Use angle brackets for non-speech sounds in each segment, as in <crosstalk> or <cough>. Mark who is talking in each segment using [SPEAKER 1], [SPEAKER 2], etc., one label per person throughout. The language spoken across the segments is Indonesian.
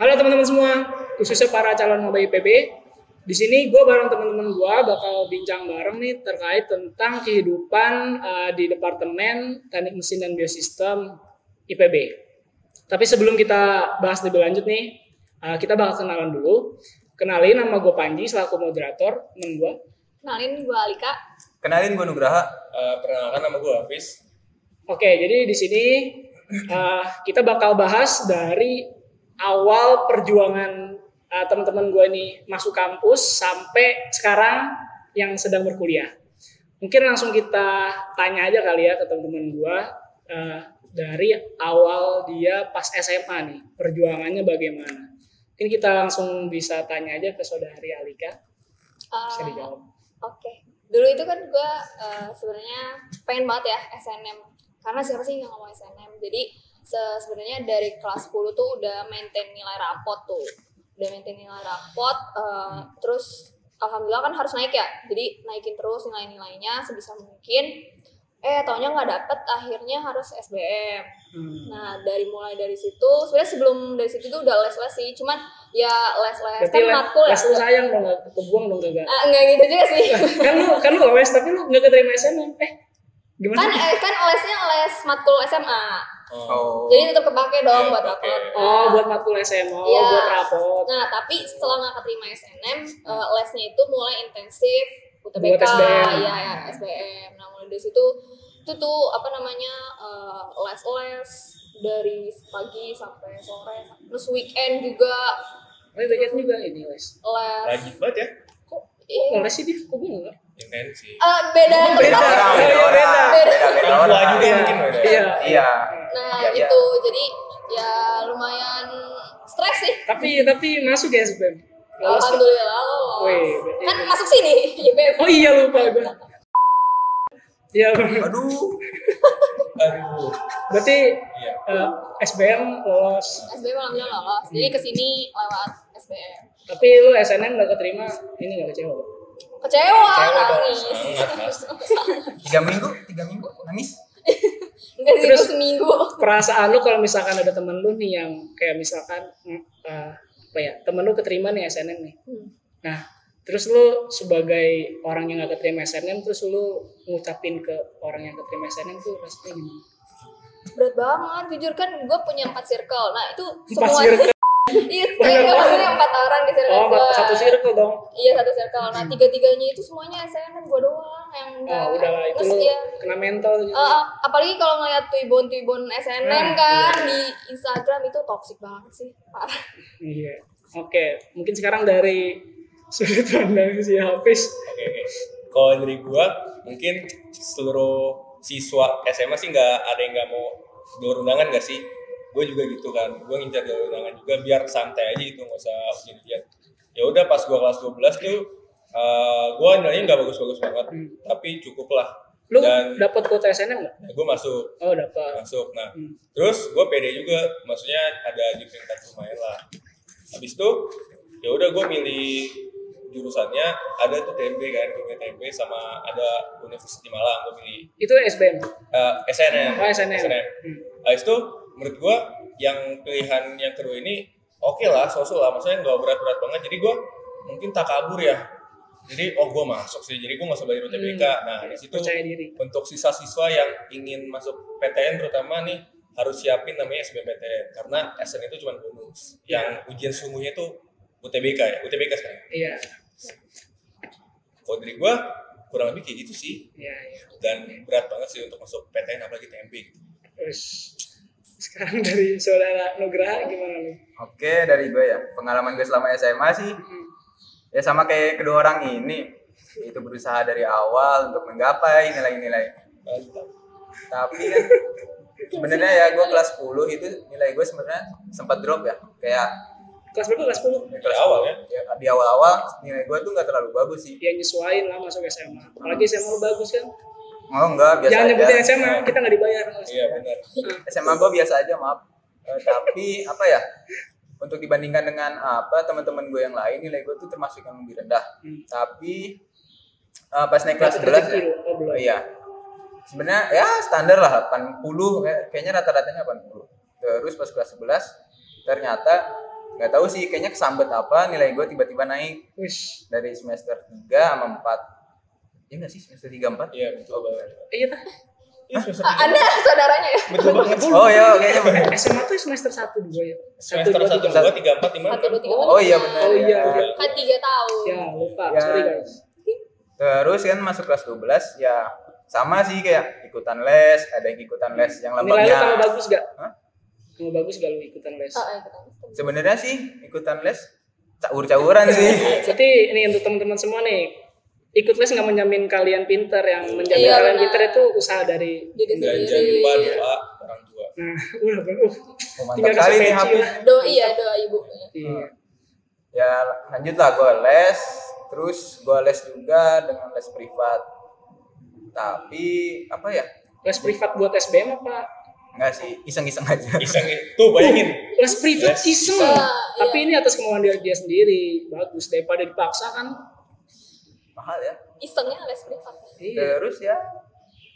[SPEAKER 1] Halo teman-teman semua, khususnya para calon maba IPB. Di sini gue bareng teman-teman gue bakal bincang bareng nih terkait tentang kehidupan eh, di Departemen Teknik Mesin dan Biosistem IPB. Tapi sebelum kita bahas lebih lanjut nih, eh, kita bakal kenalan dulu. Kenalin nama gue Panji selaku moderator, temen gue.
[SPEAKER 2] Kenalin gue Alika.
[SPEAKER 3] Kenalin gue Nugraha.
[SPEAKER 4] Eh, perkenalkan nama gue Hafiz.
[SPEAKER 1] Oke, jadi di sini eh, kita bakal bahas dari awal perjuangan eh, teman-teman gue nih masuk kampus sampai sekarang yang sedang berkuliah. Mungkin langsung kita tanya aja kali ya ke teman-teman gue eh, dari awal dia pas SMA nih perjuangannya bagaimana. Mungkin kita langsung bisa tanya aja ke saudari Alika
[SPEAKER 2] Eh,
[SPEAKER 1] bisa
[SPEAKER 2] Oke.
[SPEAKER 1] dijawab.
[SPEAKER 2] Dulu itu kan gue sebenarnya pengen banget ya SNM. Karena siapa sih yang nggak mau SNM? Jadi se- sebenarnya dari kelas 10 tuh udah maintain nilai rapot tuh. Udah maintain nilai rapot. eh, terus alhamdulillah kan harus naik ya. Jadi naikin terus nilai-nilainya sebisa mungkin. Eh taunya nggak dapet akhirnya harus SBM.
[SPEAKER 1] Hmm.
[SPEAKER 2] Nah dari mulai dari situ sebenarnya sebelum dari situ tuh udah les-les sih. Cuman ya les-les
[SPEAKER 1] Berarti
[SPEAKER 2] kan
[SPEAKER 1] les,
[SPEAKER 2] matkul ya.
[SPEAKER 1] les lu sayang dong, gak kebuang dong kagak.
[SPEAKER 2] Ah, nggak gitu juga sih.
[SPEAKER 1] kan lu kan lu les tapi lu nggak keterima SMA eh gimana
[SPEAKER 2] kan eh, kan lesnya les matkul SMA.
[SPEAKER 3] Oh.
[SPEAKER 2] Jadi tetap kepake dong
[SPEAKER 4] Iya,
[SPEAKER 2] buat
[SPEAKER 4] kepake.
[SPEAKER 2] rapot.
[SPEAKER 1] oh buat matkul SMA oh,
[SPEAKER 2] Iya.
[SPEAKER 1] buat rapot
[SPEAKER 2] Nah, tapi setelah nggak keterima SNM, eh, lesnya itu mulai intensif UTBK,
[SPEAKER 1] Buat SBM.
[SPEAKER 2] ya, ya SBM. Nah, mulai dari situ itu tuh apa namanya eh, les-les dari pagi sampai sore, terus weekend juga
[SPEAKER 1] oh bagian juga ini les
[SPEAKER 2] les.
[SPEAKER 4] Rajin banget ya.
[SPEAKER 2] Kok
[SPEAKER 1] kok
[SPEAKER 2] iya.
[SPEAKER 1] ngeles sih dia kok gue nggak
[SPEAKER 4] Intensi.
[SPEAKER 2] Eh, beda
[SPEAKER 1] Oh, beda.
[SPEAKER 2] tempat.
[SPEAKER 3] orang,
[SPEAKER 1] Beda,
[SPEAKER 3] beda orang,
[SPEAKER 2] beda.
[SPEAKER 3] beda beda
[SPEAKER 4] Orang
[SPEAKER 3] orang.
[SPEAKER 4] tua juga mungkin beda.
[SPEAKER 1] iya
[SPEAKER 3] Iya.
[SPEAKER 2] Nah,
[SPEAKER 3] Iya, iya.
[SPEAKER 2] gitu. Jadi ya lumayan stres sih.
[SPEAKER 1] tapi tapi masuk ya SBM Lolos ya?
[SPEAKER 2] Alhamdulillah lolos.
[SPEAKER 1] Wih, berarti-
[SPEAKER 2] kan masuk sini <laughs> IPB.
[SPEAKER 1] oh iya lupa gue Iya,
[SPEAKER 3] Aduh.
[SPEAKER 4] Aduh.
[SPEAKER 1] berarti
[SPEAKER 4] Iya.
[SPEAKER 1] eh, SBM lolos.
[SPEAKER 2] SBM alhamdulillah
[SPEAKER 1] Hmm.
[SPEAKER 2] lolos. Jadi kesini lewat SBM.
[SPEAKER 1] Tapi lu SNM gak keterima, ini gak kecewa.
[SPEAKER 2] Kecewa,
[SPEAKER 3] Kecewa
[SPEAKER 2] <laughs>
[SPEAKER 1] Iya,
[SPEAKER 3] dong.
[SPEAKER 2] nangis.
[SPEAKER 4] Sangat pasti.
[SPEAKER 3] Tiga minggu, tiga minggu nangis.
[SPEAKER 2] Enggak sih itu
[SPEAKER 1] Terus-
[SPEAKER 2] seminggu.
[SPEAKER 1] perasaan lu kalau misalkan ada temen lu nih yang kayak misalkan mm, eh, apa ya temen lu keterima nih SNM nih
[SPEAKER 2] Hmm.
[SPEAKER 1] nah terus lu sebagai orang yang gak keterima SNM terus lu ngucapin ke orang yang keterima SNM tuh rasanya gimana
[SPEAKER 2] Berat banget jujur kan gue punya empat circle. Nah, itu
[SPEAKER 1] Empat
[SPEAKER 2] semua
[SPEAKER 1] circle.
[SPEAKER 2] <laughs> Iya, kayak gue punya empat orang di circle
[SPEAKER 1] oh
[SPEAKER 2] gue.
[SPEAKER 1] satu circle dong
[SPEAKER 2] Iya, satu circle. Nah, tiga-tiganya itu semuanya SNM gue doang yang
[SPEAKER 1] oh
[SPEAKER 2] enggak.
[SPEAKER 1] udah lah itu
[SPEAKER 2] Terus
[SPEAKER 1] lu
[SPEAKER 2] ya,
[SPEAKER 1] kena mental gitu
[SPEAKER 2] eh, eh, apalagi kalau ngeliat tuibon-tuibon
[SPEAKER 1] Nah,
[SPEAKER 2] SNM kan di Instagram itu toxic banget sih. Parah.
[SPEAKER 1] iya oke mungkin sekarang dari sudut pandang si Hafiz
[SPEAKER 4] Oke, oke. Kalau dari gue, mungkin seluruh siswa SMA sih nggak ada yang nggak mau jalur undangan nggak sih? Gue juga gitu kan. Gue ngincar jalur undangan juga biar santai aja gitu, nggak usah ujian-ujian. Ya udah pas gue kelas 12 tuh, eh gue nilainya nggak bagus-bagus banget,
[SPEAKER 1] Hmm.
[SPEAKER 4] tapi cukup lah.
[SPEAKER 1] lu
[SPEAKER 4] Dan
[SPEAKER 1] dapat kuota SNM nggak
[SPEAKER 4] gue masuk,
[SPEAKER 1] oh dapat
[SPEAKER 4] masuk. Nah,
[SPEAKER 1] Hmm.
[SPEAKER 4] terus gue pede juga, maksudnya ada di peringkat lumayan lah. Habis itu, ya udah gue milih jurusannya, ada tuh TMB kan, gue milih TMB sama ada Universitas di Malang, gue milih
[SPEAKER 1] itu SBM
[SPEAKER 4] eh, SNM.
[SPEAKER 1] oh SNM, Hmm.
[SPEAKER 4] Habis itu, menurut gue yang pilihan yang kedua ini oke lah, sosok lah, maksudnya nggak berat-berat banget. Jadi gue mungkin tak kabur ya. Jadi, oh gue masuk sih, jadi gue nggak usah belajar UTBK. Nah, di situ
[SPEAKER 1] Hmm. percaya diri
[SPEAKER 4] untuk siswa-siswa yang ingin masuk PTN terutama nih harus siapin namanya SBMPTN karena SN itu cuma bonus. Yang ujian sungguhnya itu UTBK ya, UTBK sekarang.
[SPEAKER 1] iya
[SPEAKER 4] Kalau dari gua kurang lebih kayak gitu sih
[SPEAKER 1] iya iya
[SPEAKER 4] dan berat banget sih untuk masuk PTN apalagi TMB gitu.
[SPEAKER 1] Terus sekarang dari saudara Nugraha gimana nih?
[SPEAKER 3] Oke, dari gue ya. Pengalaman gue selama SMA sih
[SPEAKER 1] Hmm.
[SPEAKER 3] ya sama kayak kedua orang ini. Itu berusaha dari awal untuk menggapai nilai-nilai.
[SPEAKER 4] Mantap.
[SPEAKER 3] Tapi kan sebenarnya ya gue kelas 10 itu nilai gue sebenarnya sempat drop ya. Kayak
[SPEAKER 1] Kelas berapa? Kelas 10?
[SPEAKER 4] Dari awal ya.
[SPEAKER 3] ya, di awal-awal nilai gue tuh nggak terlalu bagus sih.
[SPEAKER 1] Ya nyesuain lah masuk SMA. Apalagi SMA lu bagus kan?
[SPEAKER 3] Oh enggak, biasa
[SPEAKER 1] Jangan
[SPEAKER 3] aja.
[SPEAKER 1] nyebutin SMA, kita nggak dibayar.
[SPEAKER 4] Iya benar.
[SPEAKER 3] SMA gue biasa aja maaf Eh, tapi apa ya untuk dibandingkan dengan apa teman-teman gue yang lain nilai gue tuh termasuk yang lebih rendah
[SPEAKER 1] Hmm.
[SPEAKER 3] tapi eh, pas naik kelas
[SPEAKER 1] Dapat
[SPEAKER 3] 11
[SPEAKER 1] rezeki
[SPEAKER 3] ya
[SPEAKER 1] lu. Oh, belum.
[SPEAKER 3] oh iya sebenarnya ya standar lah 80 kayak- kayaknya rata-ratanya 80 terus pas kelas 11 ternyata nggak tahu sih kayaknya kesambet apa nilai gue tiba-tiba naik
[SPEAKER 1] Wish.
[SPEAKER 3] dari semester 3 sama 4 ya nggak sih semester 3 4
[SPEAKER 4] Iya, betul banget.
[SPEAKER 1] Eh, Iya tah.
[SPEAKER 4] Iya, semester
[SPEAKER 2] Ah, ada saudaranya ya?
[SPEAKER 4] Betul banget.
[SPEAKER 3] oh
[SPEAKER 1] Iya,
[SPEAKER 3] ya kayaknya bener.
[SPEAKER 1] SMA tuh semester 1 2 ya. Satu,
[SPEAKER 4] Semester
[SPEAKER 1] dua,
[SPEAKER 4] 1,
[SPEAKER 1] tiga.
[SPEAKER 4] 2, 3, 4, 5,
[SPEAKER 2] Satu, dua, tiga.
[SPEAKER 3] oh iya benar
[SPEAKER 1] Oh iya.
[SPEAKER 3] ya.
[SPEAKER 2] Kan tiga tahun.
[SPEAKER 1] Ya, lupa.
[SPEAKER 3] Ya.
[SPEAKER 1] Sorry guys.
[SPEAKER 3] terus kan masuk kelas 12 ya sama sih kayak ikutan les ada yang ikutan les yang
[SPEAKER 1] Nilai lu tambah
[SPEAKER 3] lambangnya
[SPEAKER 1] bagus gak?
[SPEAKER 3] Hah?
[SPEAKER 1] Tambah bagus gak lu ikutan les?
[SPEAKER 2] Oh, iya, betul.
[SPEAKER 3] sebenarnya sih ikutan les caur-cauran
[SPEAKER 1] Iya,
[SPEAKER 3] sih
[SPEAKER 1] Jadi ini untuk teman-teman semua nih, ikut les nggak menjamin kalian pinter, yang menjamin
[SPEAKER 2] Iya,
[SPEAKER 1] kalian
[SPEAKER 2] benar. Iya.
[SPEAKER 1] pinter itu usaha dari.
[SPEAKER 2] Diri
[SPEAKER 4] Dan jangan
[SPEAKER 2] sendiri.
[SPEAKER 4] lupa doa orang tua.
[SPEAKER 1] Nah, <laughs> udah bagus.
[SPEAKER 3] Oh,
[SPEAKER 1] Tinggal
[SPEAKER 3] mantap
[SPEAKER 1] kasih
[SPEAKER 3] kali nih
[SPEAKER 1] pensi
[SPEAKER 3] Hafiz
[SPEAKER 1] lah.
[SPEAKER 2] Doa iya, doa ibu.
[SPEAKER 1] Iya.
[SPEAKER 3] ya lanjutlah gue les terus gue les juga dengan les privat tapi apa ya
[SPEAKER 1] Les privat buat SBM apa?
[SPEAKER 3] nggak sih iseng-iseng aja
[SPEAKER 4] Iseng itu bayangin.
[SPEAKER 1] Les privat
[SPEAKER 4] Les
[SPEAKER 1] iseng.
[SPEAKER 2] iseng.
[SPEAKER 1] Tapi ini atas kemauan dia, dia sendiri. Bagus daripada dipaksa kan.
[SPEAKER 3] <laughs> mahal ya
[SPEAKER 2] Isengnya les privat.
[SPEAKER 1] Iya.
[SPEAKER 3] terus ya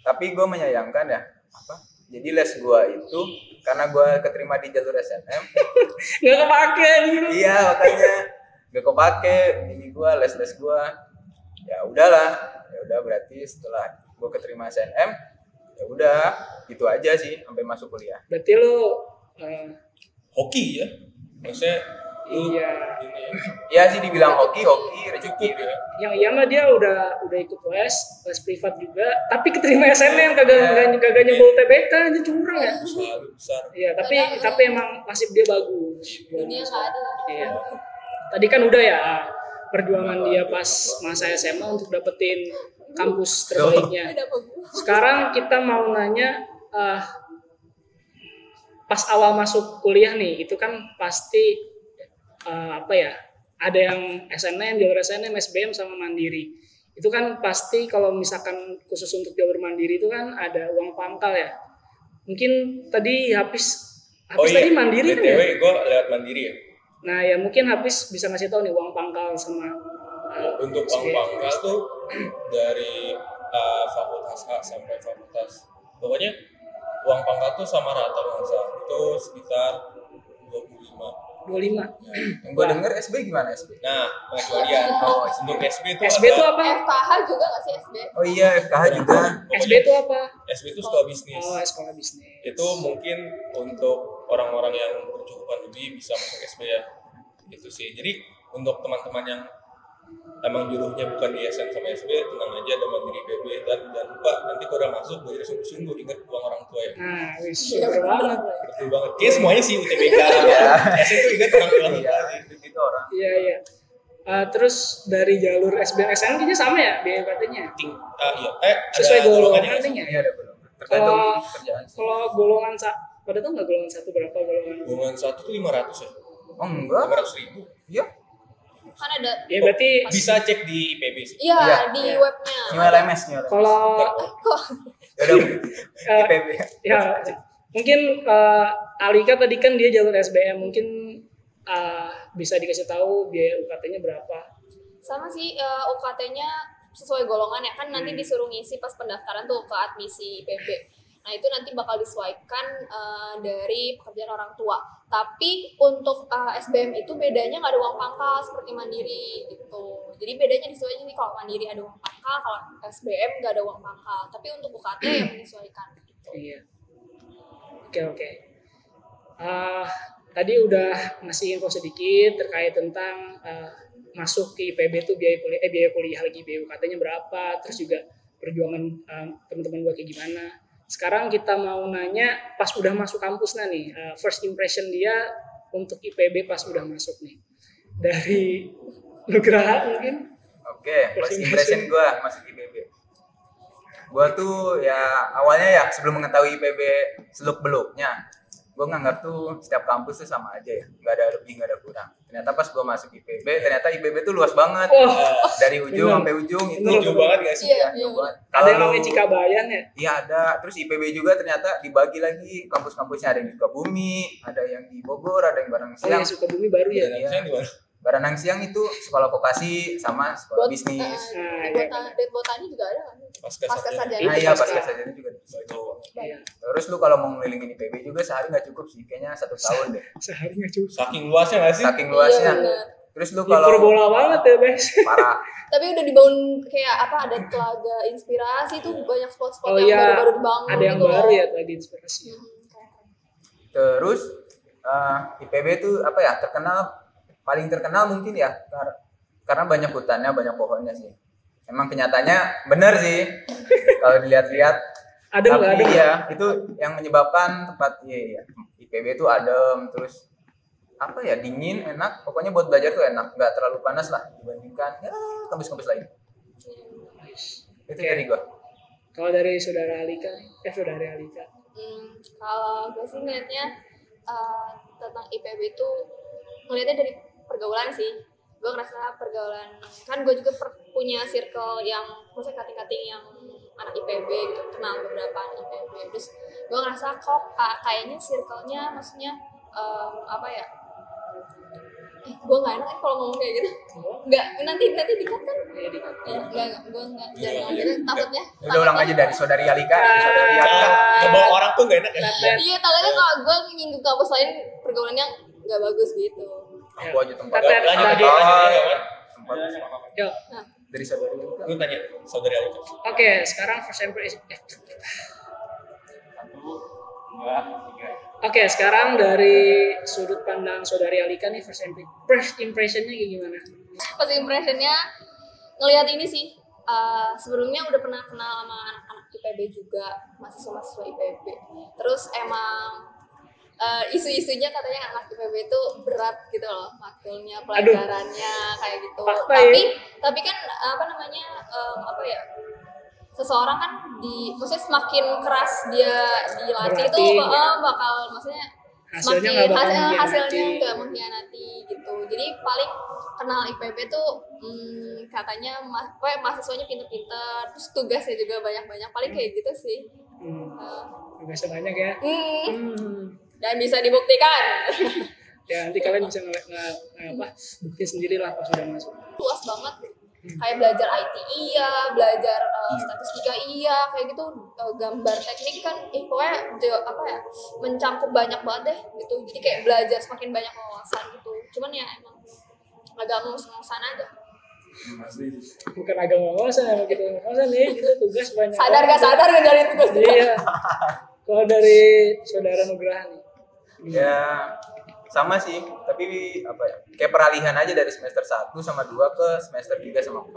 [SPEAKER 3] tapi gue menyayangkan ya apa jadi les gue itu karena gue keterima di jalur SNM
[SPEAKER 1] Nggak kepake dulu.
[SPEAKER 3] <laughs> iya makanya gak kepake ini gue les les gue ya udahlah ya udah berarti setelah gue keterima SNM ya udah itu aja sih sampai masuk kuliah
[SPEAKER 1] Berarti lu eh,
[SPEAKER 4] Hoki ya. Maksudnya lu
[SPEAKER 1] Iya.
[SPEAKER 4] ini ya.
[SPEAKER 3] Iya sih dibilang hoki hoki rezeki gitu
[SPEAKER 4] cukup ya.
[SPEAKER 1] yang iya mah dia udah udah ikut les, les privat juga, tapi keterima SNM kagak kagak kagak nyebol TBK aja curang ya.
[SPEAKER 4] Selalu besar.
[SPEAKER 1] Iya, tapi
[SPEAKER 2] Padahal-
[SPEAKER 1] tapi emang nasib dia bagus.
[SPEAKER 2] Dunia nggak ada.
[SPEAKER 1] Iya. Tadi kan udah ya perjuangan dia pas masa SMA untuk dapetin kampus terbaiknya.
[SPEAKER 2] Ada apa gue?
[SPEAKER 1] Sekarang kita mau nanya eh, pas awal masuk kuliah nih, itu kan pasti eh, apa ya? Ada yang SNM, jalur SNM, SBM sama mandiri. Itu kan pasti kalau misalkan khusus untuk jalur mandiri itu kan ada uang pangkal ya. Mungkin tadi habis
[SPEAKER 4] Oh
[SPEAKER 1] habis
[SPEAKER 4] iya,
[SPEAKER 1] tadi mandiri kan ya?
[SPEAKER 4] BTW gue lewat mandiri ya.
[SPEAKER 1] Nah ya mungkin Hafiz bisa ngasih tahu nih uang pangkal sama uh,
[SPEAKER 4] Untuk uang
[SPEAKER 1] SBM.
[SPEAKER 4] pangkal tuh dari uh, fakultas A sampai fakultas. Pokoknya uang pangkal tuh sama rata bangsa. Itu sekitar 25.
[SPEAKER 1] 25.
[SPEAKER 3] yang gue denger SB gimana SB
[SPEAKER 4] Nah, pengecualian.
[SPEAKER 1] <laughs>
[SPEAKER 3] Oh,
[SPEAKER 4] Sebelum SB itu
[SPEAKER 1] SB
[SPEAKER 4] ada
[SPEAKER 1] itu apa?
[SPEAKER 2] FKH juga nggak sih SB?
[SPEAKER 3] oh iya FKH juga
[SPEAKER 1] SB itu apa?
[SPEAKER 4] SB itu sekolah bisnis.
[SPEAKER 1] Oh, sekolah bisnis.
[SPEAKER 4] itu mungkin untuk orang-orang yang bercukupan lebih bisa masuk SB ya itu sih jadi untuk teman-teman yang emang juruhnya bukan di SN sama SB tenang aja ada mandiri BB dan jangan lupa nanti kalau udah masuk belajar sungguh-sungguh ingat uang orang tua ya
[SPEAKER 1] Nah, wis
[SPEAKER 3] Iya,
[SPEAKER 1] bener banget.
[SPEAKER 4] betul banget Kayaknya semuanya sih
[SPEAKER 1] <laughs>
[SPEAKER 4] UTBK SN itu ingat tenang banget
[SPEAKER 3] iya itu, itu orang
[SPEAKER 1] Iya, iya. Uh, terus dari jalur SBM SNM kayaknya sama ya biaya UKT-nya.
[SPEAKER 4] Ting, ah, iya. eh
[SPEAKER 1] Sesuai
[SPEAKER 4] ada
[SPEAKER 1] golongan
[SPEAKER 4] golongannya
[SPEAKER 1] nantinya.
[SPEAKER 3] iya ada belum tergantung
[SPEAKER 1] Kalau-
[SPEAKER 3] kerjaan sih
[SPEAKER 1] Kalau golongan sa pada tuh nggak golongan satu berapa golongan?
[SPEAKER 4] golongan satu tuh 500 ya
[SPEAKER 3] oh enggak
[SPEAKER 4] 500 ribu
[SPEAKER 3] iya
[SPEAKER 2] Kan ada.
[SPEAKER 1] Ya berarti
[SPEAKER 4] bisa cek di IPB sih
[SPEAKER 2] Iya
[SPEAKER 3] Iya.
[SPEAKER 2] di
[SPEAKER 1] Iya.
[SPEAKER 2] webnya.
[SPEAKER 3] new LMS new LMS
[SPEAKER 1] kalau
[SPEAKER 2] Eh, Kok
[SPEAKER 3] Yaudah,
[SPEAKER 1] eh,
[SPEAKER 3] IPB
[SPEAKER 1] ya mungkin eh, Alika tadi kan dia jalur SBM mungkin eh, bisa dikasih tahu biaya UKT-nya berapa
[SPEAKER 2] sama sih eh, UKT-nya sesuai golongan ya kan nanti disuruh ngisi pas pendaftaran tuh ke admisi IPB. Nah itu nanti bakal disesuaikan eh, dari pekerjaan orang tua. Tapi untuk eh, SBM itu bedanya nggak ada uang pangkal seperti mandiri gitu. Jadi bedanya disesuaikan sih kalau mandiri ada uang pangkal, kalau SBM nggak ada uang pangkal. Tapi untuk UKT yang menyesuaikan. Gitu.
[SPEAKER 1] Iya. Oke oke. Ah, tadi udah ngasih info sedikit terkait tentang ah, masuk ke IPB itu biaya kuliah eh biaya kuliah lagi biaya UKT-nya berapa, terus juga perjuangan ah, teman-teman gua kayak gimana. Sekarang kita mau nanya pas udah masuk kampusnya nih, ah, first impression dia untuk IPB pas udah masuk nih. Dari <laughs> Nugraha mungkin.
[SPEAKER 3] Oke, first impression gue masuk IPB. Gue tuh ya awalnya ya sebelum mengetahui IPB seluk beluknya, gue nganggap tuh setiap kampus tuh sama aja ya, nggak ada lebih nggak ada kurang. Ternyata pas gue masuk IPB, ternyata IPB tuh luas banget
[SPEAKER 1] Oh,
[SPEAKER 3] dari ujung
[SPEAKER 1] Bener.
[SPEAKER 3] sampai ujung itu. ya,
[SPEAKER 1] Bener.
[SPEAKER 4] Eh, jauh banget gak sih
[SPEAKER 2] Iya, iya.
[SPEAKER 3] jauh banget.
[SPEAKER 1] ada yang
[SPEAKER 3] Kalau-
[SPEAKER 1] namanya Cikabayan ya?
[SPEAKER 3] Iya ada. Terus IPB juga ternyata dibagi lagi kampus-kampusnya ada yang di Sukabumi, ada yang di Bogor, ada yang Barang
[SPEAKER 1] Oh, yang
[SPEAKER 3] Siang.
[SPEAKER 1] Sukabumi baru ya?
[SPEAKER 4] dan saya di mana
[SPEAKER 3] Baranang Siang itu sekolah vokasi sama sekolah
[SPEAKER 2] Bot-
[SPEAKER 3] bisnis.
[SPEAKER 2] eh,
[SPEAKER 1] Nah,
[SPEAKER 2] di bota-
[SPEAKER 1] iya,
[SPEAKER 2] di botani juga ada kan?
[SPEAKER 4] Pasca
[SPEAKER 2] Pasca
[SPEAKER 4] sarjana.
[SPEAKER 2] sarjana.
[SPEAKER 3] Nah iya pas
[SPEAKER 1] Pasca.
[SPEAKER 3] kerja juga.
[SPEAKER 4] Itu
[SPEAKER 1] Iya.
[SPEAKER 3] Terus lu kalau mau ngelilingin IPB juga sehari nggak cukup sih, kayaknya satu tahun deh.
[SPEAKER 1] Sehari nggak cukup.
[SPEAKER 4] saking luasnya nggak sih?
[SPEAKER 3] Saking luasnya.
[SPEAKER 2] Iya, bener.
[SPEAKER 3] Terus lu kalau
[SPEAKER 1] Hiperbola banget ya, guys.
[SPEAKER 3] para
[SPEAKER 2] Tapi udah dibangun kayak apa ada telaga inspirasi tuh banyak spot-spot
[SPEAKER 1] Oh
[SPEAKER 2] yang
[SPEAKER 1] iya,
[SPEAKER 2] baru-baru dibangun.
[SPEAKER 1] ada yang
[SPEAKER 2] gitu loh.
[SPEAKER 1] baru ya tadi inspirasi.
[SPEAKER 2] Mhm, keren.
[SPEAKER 3] Terus eh, IPB itu apa ya terkenal paling terkenal mungkin ya kar- karena banyak hutannya banyak pohonnya sih. Emang kenyataannya bener sih
[SPEAKER 1] <laughs>
[SPEAKER 3] kalau dilihat-lihat.
[SPEAKER 1] Ada nggak ada?
[SPEAKER 3] Tapi
[SPEAKER 1] nggak?
[SPEAKER 3] ya itu yang menyebabkan tempat iya, iya. IPB itu adem terus apa ya dingin enak pokoknya buat belajar tuh enak nggak terlalu panas lah dibandingkan ya kampus-kampus lain itu dari gua
[SPEAKER 1] Kalau dari saudara Alika, eh saudari Alika.
[SPEAKER 2] Hmm, kalau gue sih ngeliatnya eh, tentang IPB itu ngeliatnya dari pergaulan sih. Gue ngerasa pergaulan kan gue juga per- punya circle yang maksudnya kating-kating yang anak IPB gitu kenal beberapa anak IPB. Terus gue ngerasa kok ah, kayaknya circle-nya maksudnya em, apa ya? Eh, gue nggak enak eh, kalau ngomong kayak gitu. Nggak nanti nanti dikat kan? Ya, nggak nggak gue nggak
[SPEAKER 4] Iya,
[SPEAKER 2] jangan ngomong
[SPEAKER 4] iya,
[SPEAKER 2] gitu
[SPEAKER 4] nggak.
[SPEAKER 2] takutnya.
[SPEAKER 3] Ya udah ulang aja
[SPEAKER 2] takutnya-
[SPEAKER 3] dari saudari Alika dari saudari Alika
[SPEAKER 1] Ah.
[SPEAKER 4] Nah, ngebawa orang tuh nggak enak ya.
[SPEAKER 2] Iya, takutnya kalau gue nyinggung kampus lain pergaulannya nggak bagus gitu.
[SPEAKER 3] aku aja tempat
[SPEAKER 1] Tete,
[SPEAKER 4] Lanjut
[SPEAKER 1] tadi-
[SPEAKER 4] lanjut lanjut lanjut.
[SPEAKER 3] tempat
[SPEAKER 1] Yo.
[SPEAKER 2] Nah,
[SPEAKER 3] dari saudari Alika
[SPEAKER 4] Lu tanya saudari Alika.
[SPEAKER 1] Oke, sekarang first impression. eh, Oke, sekarang dari sudut pandang saudari Alika nih first, impre- first impressionnya kayak gimana?
[SPEAKER 2] pas impressionnya ngelihat ini sih. eh, sebelumnya udah pernah kenal sama anak-anak IPB juga, mahasiswa-mahasiswa IPB. Terus emang eh, isu-isunya katanya anak IPB itu berat gitu loh, makulnya, pelajarannya kayak gitu.
[SPEAKER 1] Fakta ya.
[SPEAKER 2] tapi tapi kan apa namanya? em, apa ya? seseorang kan di maksudnya semakin keras dia dilatih itu
[SPEAKER 1] Berlatih,
[SPEAKER 2] eh,
[SPEAKER 1] ya.
[SPEAKER 2] bakal maksudnya
[SPEAKER 1] Hasilnya
[SPEAKER 2] semakin
[SPEAKER 1] nggak bakal
[SPEAKER 2] hasil-
[SPEAKER 1] mengkhianati.
[SPEAKER 2] hasilnya nggak mengkhianati gitu jadi paling kenal IPB tuh hmm, katanya mas pokoknya mahasiswanya pinter-pinter terus tugasnya juga banyak-banyak paling kayak gitu sih
[SPEAKER 1] Hmm,
[SPEAKER 2] Eh,
[SPEAKER 1] tugasnya banyak ya.
[SPEAKER 2] hmm,
[SPEAKER 1] Hmm.
[SPEAKER 2] dan bisa dibuktikan <laughs>
[SPEAKER 1] Ya nanti kalian bisa nge, nge- nge- apa, buktiin sendiri lah pas sudah masuk.
[SPEAKER 2] luas banget kayak belajar IT iya belajar eh, statistika iya kayak gitu eh, gambar teknik kan eh, pokoknya jo- apa ya mencakup banyak banget deh gitu jadi kayak belajar semakin banyak wawasan gitu cuman ya emang agak ngurus-ngurusan aja
[SPEAKER 1] Bukan agama wawasan, emang kita wawasan nih, kita tugas banyak.
[SPEAKER 2] sadar gak sadar ngejalin tugas juga
[SPEAKER 1] Iya. Kalau dari saudara Nugraha nih.
[SPEAKER 3] ya sama sih tapi apa ya kayak peralihan aja dari semester 1 sama 2 ke semester 3 sama 4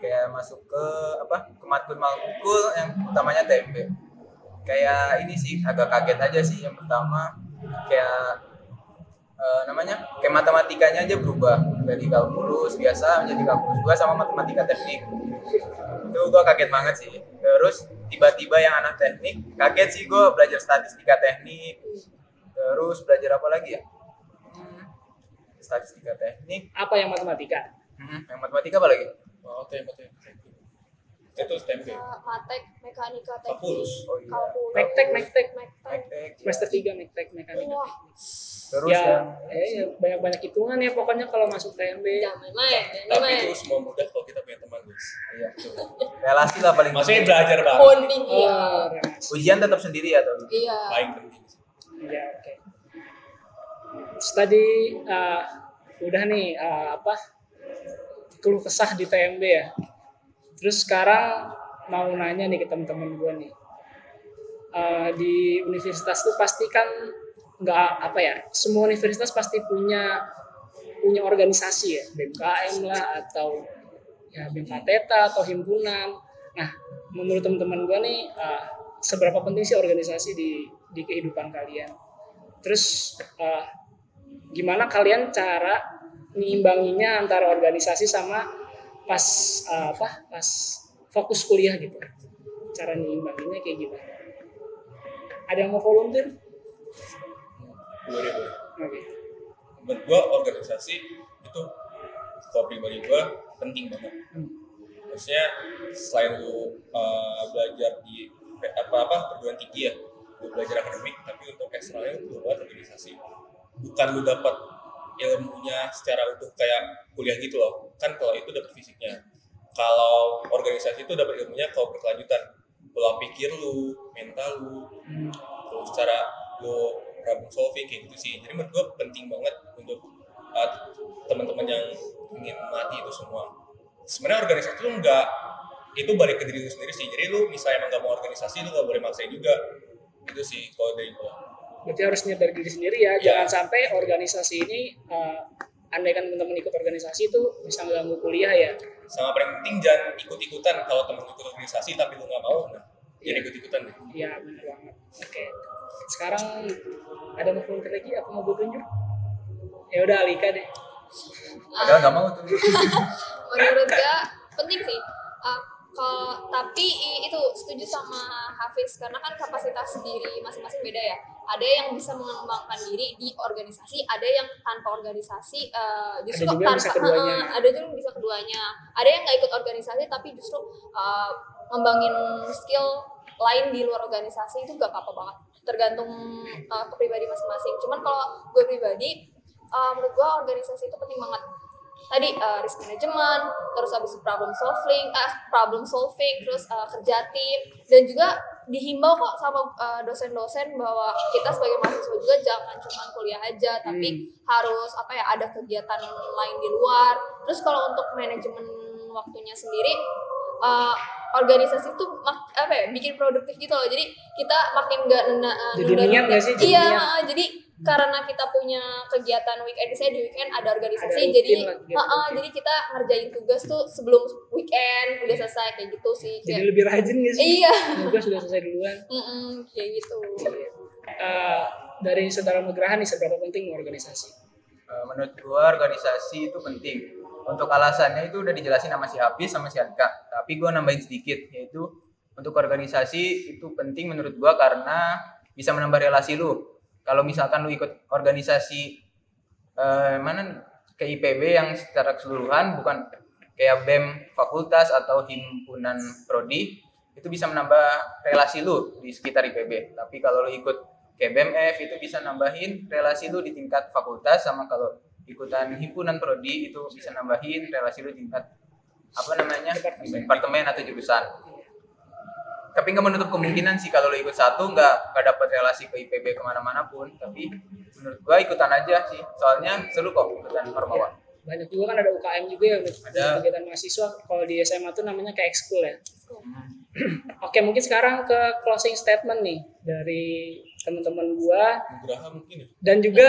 [SPEAKER 3] kayak masuk ke apa ke matkul matkul yang utamanya TMB kayak ini sih agak kaget aja sih yang pertama kayak eh, namanya kayak matematikanya aja berubah dari kalkulus biasa menjadi kalkulus dua sama matematika teknik itu gua kaget banget sih terus tiba-tiba yang anak teknik kaget sih gua belajar statistika teknik terus belajar apa lagi ya Hmm, statistika teknik
[SPEAKER 1] Apa yang matematika?
[SPEAKER 3] Hmm, yang matematika apa lagi
[SPEAKER 4] Oh, tempe tempe. Itu
[SPEAKER 2] Eh,
[SPEAKER 4] tempe.
[SPEAKER 2] matek mekanika teknik
[SPEAKER 4] Kalkulus.
[SPEAKER 3] oh iya
[SPEAKER 2] kalkulus
[SPEAKER 1] Mektek, mektek.
[SPEAKER 2] mektek
[SPEAKER 3] Teknik, ya.
[SPEAKER 1] Semester 3 mektek mekanika.
[SPEAKER 2] wah
[SPEAKER 3] terus
[SPEAKER 1] ya,
[SPEAKER 3] yang
[SPEAKER 1] eh, ya, banyak-banyak hitungan ya pokoknya kalau masuk TMB.
[SPEAKER 2] jangan main-main jangan
[SPEAKER 4] Tapi
[SPEAKER 2] main
[SPEAKER 4] itu semua mudah kalau kita punya teman guys.
[SPEAKER 3] iya relasi lah paling
[SPEAKER 4] Maksudnya
[SPEAKER 3] penting.
[SPEAKER 4] belajar bareng
[SPEAKER 2] bonding iya
[SPEAKER 1] Oh, ras.
[SPEAKER 3] ujian tetap sendiri ya tuh
[SPEAKER 2] iya
[SPEAKER 4] paling penting.
[SPEAKER 1] Iya, oke. Terus Tadi eh, udah nih eh, apa? Keluh kesah di TMB ya. Terus sekarang mau nanya nih ke temen-temen gue nih. Eh, di universitas tuh pasti kan nggak apa ya semua universitas pasti punya punya organisasi ya BMKM lah atau ya BMKTETA atau himpunan nah menurut teman-teman gue nih eh, seberapa penting sih organisasi di di kehidupan kalian terus eh, gimana kalian cara nyeimbanginya antara organisasi sama pas eh, apa pas fokus kuliah gitu cara nyeimbanginnya kayak gimana ada yang mau volunteer
[SPEAKER 4] Gue deh gue.
[SPEAKER 1] oke
[SPEAKER 4] Menurut gue organisasi itu kalau pribadi gue penting banget.
[SPEAKER 1] Hmm.
[SPEAKER 4] maksudnya selain lu uh, belajar di apa apa perguruan tinggi ya lu belajar akademik tapi untuk eksternalnya lu buat organisasi bukan lu dapat ilmunya secara utuh kayak kuliah gitu loh kan kalau itu dapat fisiknya kalau organisasi itu dapat ilmunya kalau berkelanjutan pola pikir lu mental lu terus cara lu problem solving kayak gitu sih jadi menurut gue penting banget untuk uh, teman-teman yang ingin mati itu semua sebenarnya organisasi itu enggak itu balik ke diri lu sendiri sih jadi lu misalnya emang gak mau organisasi lu gak boleh maksain juga itu sih kalau dari gue
[SPEAKER 1] berarti harus nyadar diri sendiri ya
[SPEAKER 4] Iya.
[SPEAKER 1] jangan sampai organisasi ini eh, andai kan teman-teman ikut organisasi itu bisa mengganggu kuliah ya
[SPEAKER 4] sama paling penting jangan ikut-ikutan kalau temen lu ikut organisasi tapi lu nggak mau nah
[SPEAKER 1] Iya.
[SPEAKER 4] jadi ikut-ikutan deh
[SPEAKER 1] iya benar banget oke sekarang ada mau keluar lagi apa mau gue tunjuk ya udah Alika deh
[SPEAKER 2] Ah.
[SPEAKER 3] Padahal nggak mau tuh.
[SPEAKER 2] menurut gue penting sih Uh, kalau tapi i- itu setuju sama Hafiz karena kan kapasitas diri masing-masing beda ya ada yang bisa mengembangkan diri di organisasi ada yang tanpa organisasi uh, justru
[SPEAKER 1] Ada juga yang
[SPEAKER 2] tanpa
[SPEAKER 1] bisa keduanya.
[SPEAKER 2] Uh, ada juga yang bisa keduanya ada yang nggak ikut organisasi tapi justru uh, ngembangin skill lain di luar organisasi itu gak apa-apa banget tergantung uh, ke pribadi masing-masing cuman kalau gue pribadi uh, menurut gue organisasi itu penting banget tadi uh, risk management terus habis itu problem solving ah, problem solving terus uh, kerja tim dan juga dihimbau kok sama uh, dosen-dosen bahwa kita sebagai mahasiswa juga jangan cuma kuliah aja tapi
[SPEAKER 1] Hmm.
[SPEAKER 2] harus apa ya ada kegiatan lain di luar terus kalau untuk manajemen waktunya sendiri eh, organisasi itu mak- apa ya bikin produktif gitu loh jadi kita makin nggak nunda eh,
[SPEAKER 1] Jadi niat nggak sih? Jadi
[SPEAKER 2] iya
[SPEAKER 1] niat.
[SPEAKER 2] eh, jadi karena kita punya kegiatan weekend saya di weekend ada
[SPEAKER 1] Ada
[SPEAKER 2] organisasi
[SPEAKER 1] rutin
[SPEAKER 2] jadi
[SPEAKER 1] lah kegiatan
[SPEAKER 2] eh, eh,
[SPEAKER 1] rutin.
[SPEAKER 2] jadi kita ngerjain tugas tuh sebelum weekend udah selesai kayak gitu sih
[SPEAKER 1] jadi
[SPEAKER 2] kayak,
[SPEAKER 1] lebih rajin gak sih
[SPEAKER 2] iya
[SPEAKER 1] Semoga sudah selesai duluan
[SPEAKER 2] Mm-mm, kayak gitu
[SPEAKER 1] Eh, dari saudara Nugraha nih seberapa penting organisasi
[SPEAKER 3] Eh, menurut gua organisasi itu penting untuk alasannya itu udah dijelasin sama si Hafiz sama si Anka tapi gua nambahin sedikit yaitu untuk organisasi itu penting menurut gua karena bisa menambah relasi lu kalau misalkan lu ikut organisasi eh, mana ke IPB yang secara keseluruhan bukan kayak BEM fakultas atau himpunan prodi itu bisa menambah relasi lu di sekitar IPB tapi kalau lu ikut kayak BMF itu bisa nambahin relasi lu di tingkat fakultas sama kalau ikutan himpunan prodi itu bisa nambahin relasi lu di tingkat apa namanya
[SPEAKER 1] Departemen.
[SPEAKER 3] departemen atau jurusan tapi nggak menutup kemungkinan sih kalau lu ikut satu nggak nggak dapat relasi ke IPB kemana-mana pun tapi menurut gua ikutan aja sih soalnya seru kok ikutan Ormawa
[SPEAKER 1] banyak juga kan ada UKM juga ya untuk
[SPEAKER 3] Ada.
[SPEAKER 1] kegiatan mahasiswa kalau di SMA tuh namanya kayak ekskul ya oke mungkin sekarang ke closing statement nih dari teman-teman gua
[SPEAKER 4] Nugraha mungkin ya
[SPEAKER 1] dan juga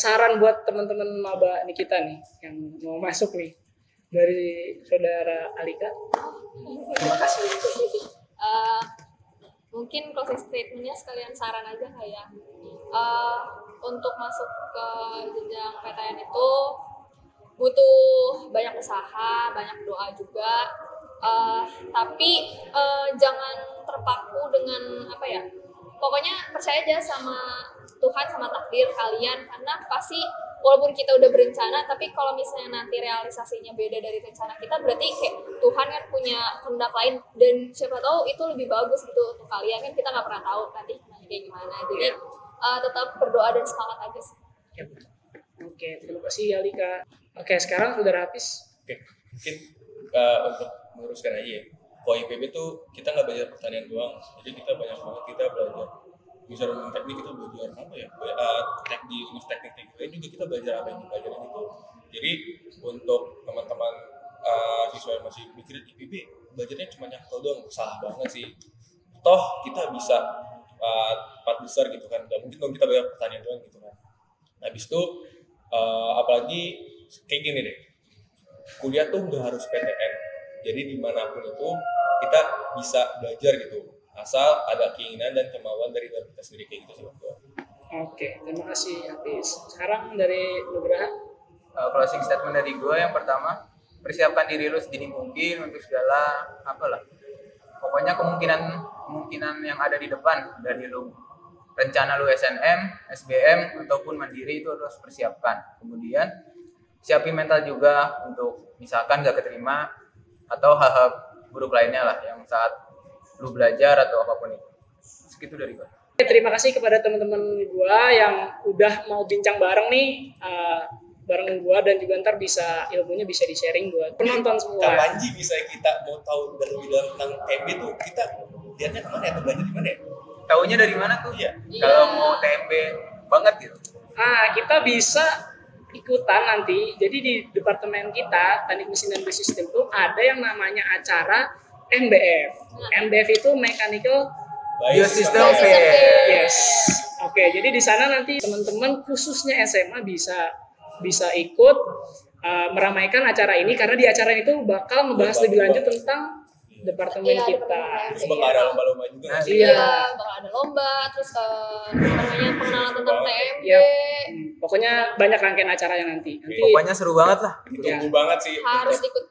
[SPEAKER 1] saran buat teman-teman maba nih kita nih yang mau masuk nih dari saudara Alika
[SPEAKER 2] terima kasih <laughs> Eh, mungkin closing statementnya sekalian saran aja kayak eh, untuk masuk ke jenjang PTN itu butuh banyak usaha banyak doa juga Eh, tapi eh, jangan terpaku dengan apa ya pokoknya percaya aja sama Tuhan sama takdir kalian karena pasti walaupun kita udah berencana tapi kalau misalnya nanti realisasinya beda dari rencana kita berarti kayak Tuhan kan punya kehendak lain dan siapa tahu itu lebih bagus gitu untuk kalian kan kita nggak pernah tahu nanti kayak gimana jadi eh, tetap berdoa dan semangat aja sih
[SPEAKER 1] Ya, betul. oke terima kasih Alika oke sekarang saudara Hafiz
[SPEAKER 4] Oke, mungkin uh, untuk meluruskan aja ya. Kalau IPB tuh kita nggak belajar pertanian doang, jadi kita banyak banget kita belajar misalnya teknik kita belajar apa ya Be- uh, tek di teknik teknik teknik lain juga kita belajar apa yang dipelajarin itu jadi untuk teman-teman uh, siswa yang masih mikir IPB belajarnya cuma nyangkul doang salah banget sih toh kita bisa uh, empat besar gitu kan nggak mungkin dong kita belajar pertanian doang gitu kan habis itu uh, apalagi kayak gini deh kuliah tuh nggak harus PTN jadi dimanapun itu kita bisa belajar gitu asal ada keinginan dan kemauan dari dalam kita sendiri kayak gitu sih menurut gua.
[SPEAKER 1] oke terima kasih Hafiz sekarang dari Nugraha
[SPEAKER 3] Uh, closing statement dari gue yang pertama persiapkan diri lu sedini mungkin untuk segala apalah pokoknya kemungkinan kemungkinan yang ada di depan dari lu rencana lu SNM, SBM ataupun mandiri itu harus persiapkan kemudian siapin mental juga untuk misalkan gak keterima atau hal-hal buruk lainnya lah yang saat lu belajar atau apapun itu segitu dari gue
[SPEAKER 1] Oke, Terima kasih kepada teman-teman gua yang udah mau bincang bareng nih eh, bareng gua dan juga ntar bisa ilmunya bisa di sharing buat penonton semua.
[SPEAKER 4] Kak Panji bisa kita mau tahu lebih dalam tentang TMB tuh kita lihatnya kemana ya atau belajar di mana ya?
[SPEAKER 3] Taunya dari mana tuh?
[SPEAKER 4] Iya.
[SPEAKER 3] Kalau
[SPEAKER 2] Iya.
[SPEAKER 3] mau TMB banget gitu.
[SPEAKER 1] Nah, kita bisa ikutan nanti. Jadi di departemen kita, Teknik Mesin dan Sistem itu ada yang namanya acara MBF. MBF itu Mechanical
[SPEAKER 2] Biosistem
[SPEAKER 3] Biosistem Fair.
[SPEAKER 2] Fair.
[SPEAKER 1] Yes. Oke, jadi di sana nanti teman-teman khususnya SMA bisa bisa ikut uh, meramaikan acara ini karena di acara itu bakal membahas lebih lanjut tentang departemen
[SPEAKER 2] Iya,
[SPEAKER 1] kita.
[SPEAKER 2] departemen.
[SPEAKER 4] Terus bakal ada lomba-lomba juga.
[SPEAKER 3] Nah,
[SPEAKER 1] Iya.
[SPEAKER 2] bakal ada lomba, terus eh, apa namanya pengenalan tentang TMB.
[SPEAKER 1] Yap. Hmm, Pokoknya banyak rangkaian acaranya nanti. Nanti oke.
[SPEAKER 3] Iya, Pokoknya seru banget lah.
[SPEAKER 4] Ditunggu banget sih
[SPEAKER 2] Harus ikut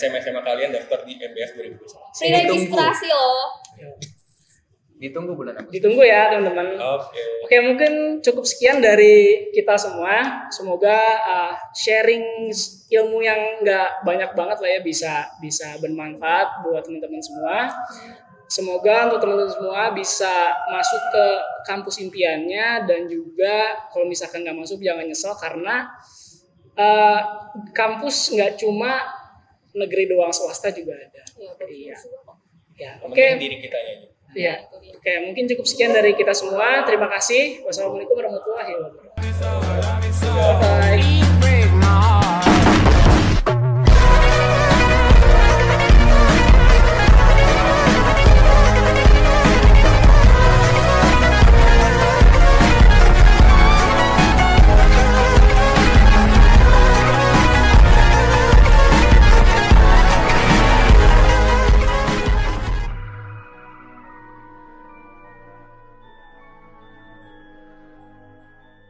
[SPEAKER 4] SMA-SMA kalian daftar di MBS 2021.
[SPEAKER 2] free registrasi loh.
[SPEAKER 3] Ditunggu bulan Agustus.
[SPEAKER 1] Ditunggu ya, teman-teman.
[SPEAKER 4] Oke.
[SPEAKER 1] Oke, mungkin cukup sekian dari kita semua. Semoga uh, sharing ilmu yang nggak banyak banget lah ya bisa bisa bermanfaat buat teman-teman semua. Semoga untuk teman-teman semua bisa masuk ke kampus impiannya dan juga kalau misalkan nggak masuk jangan nyesel karena uh, kampus nggak cuma negeri doang swasta juga ada.
[SPEAKER 2] Iya,
[SPEAKER 1] Iya. Ya, oke.
[SPEAKER 4] Yang penting diri kita ya. aja.
[SPEAKER 1] Iya. Oke, mungkin cukup sekian dari kita semua. Terima kasih. Wassalamualaikum warahmatullahi wabarakatuh.
[SPEAKER 4] Ya.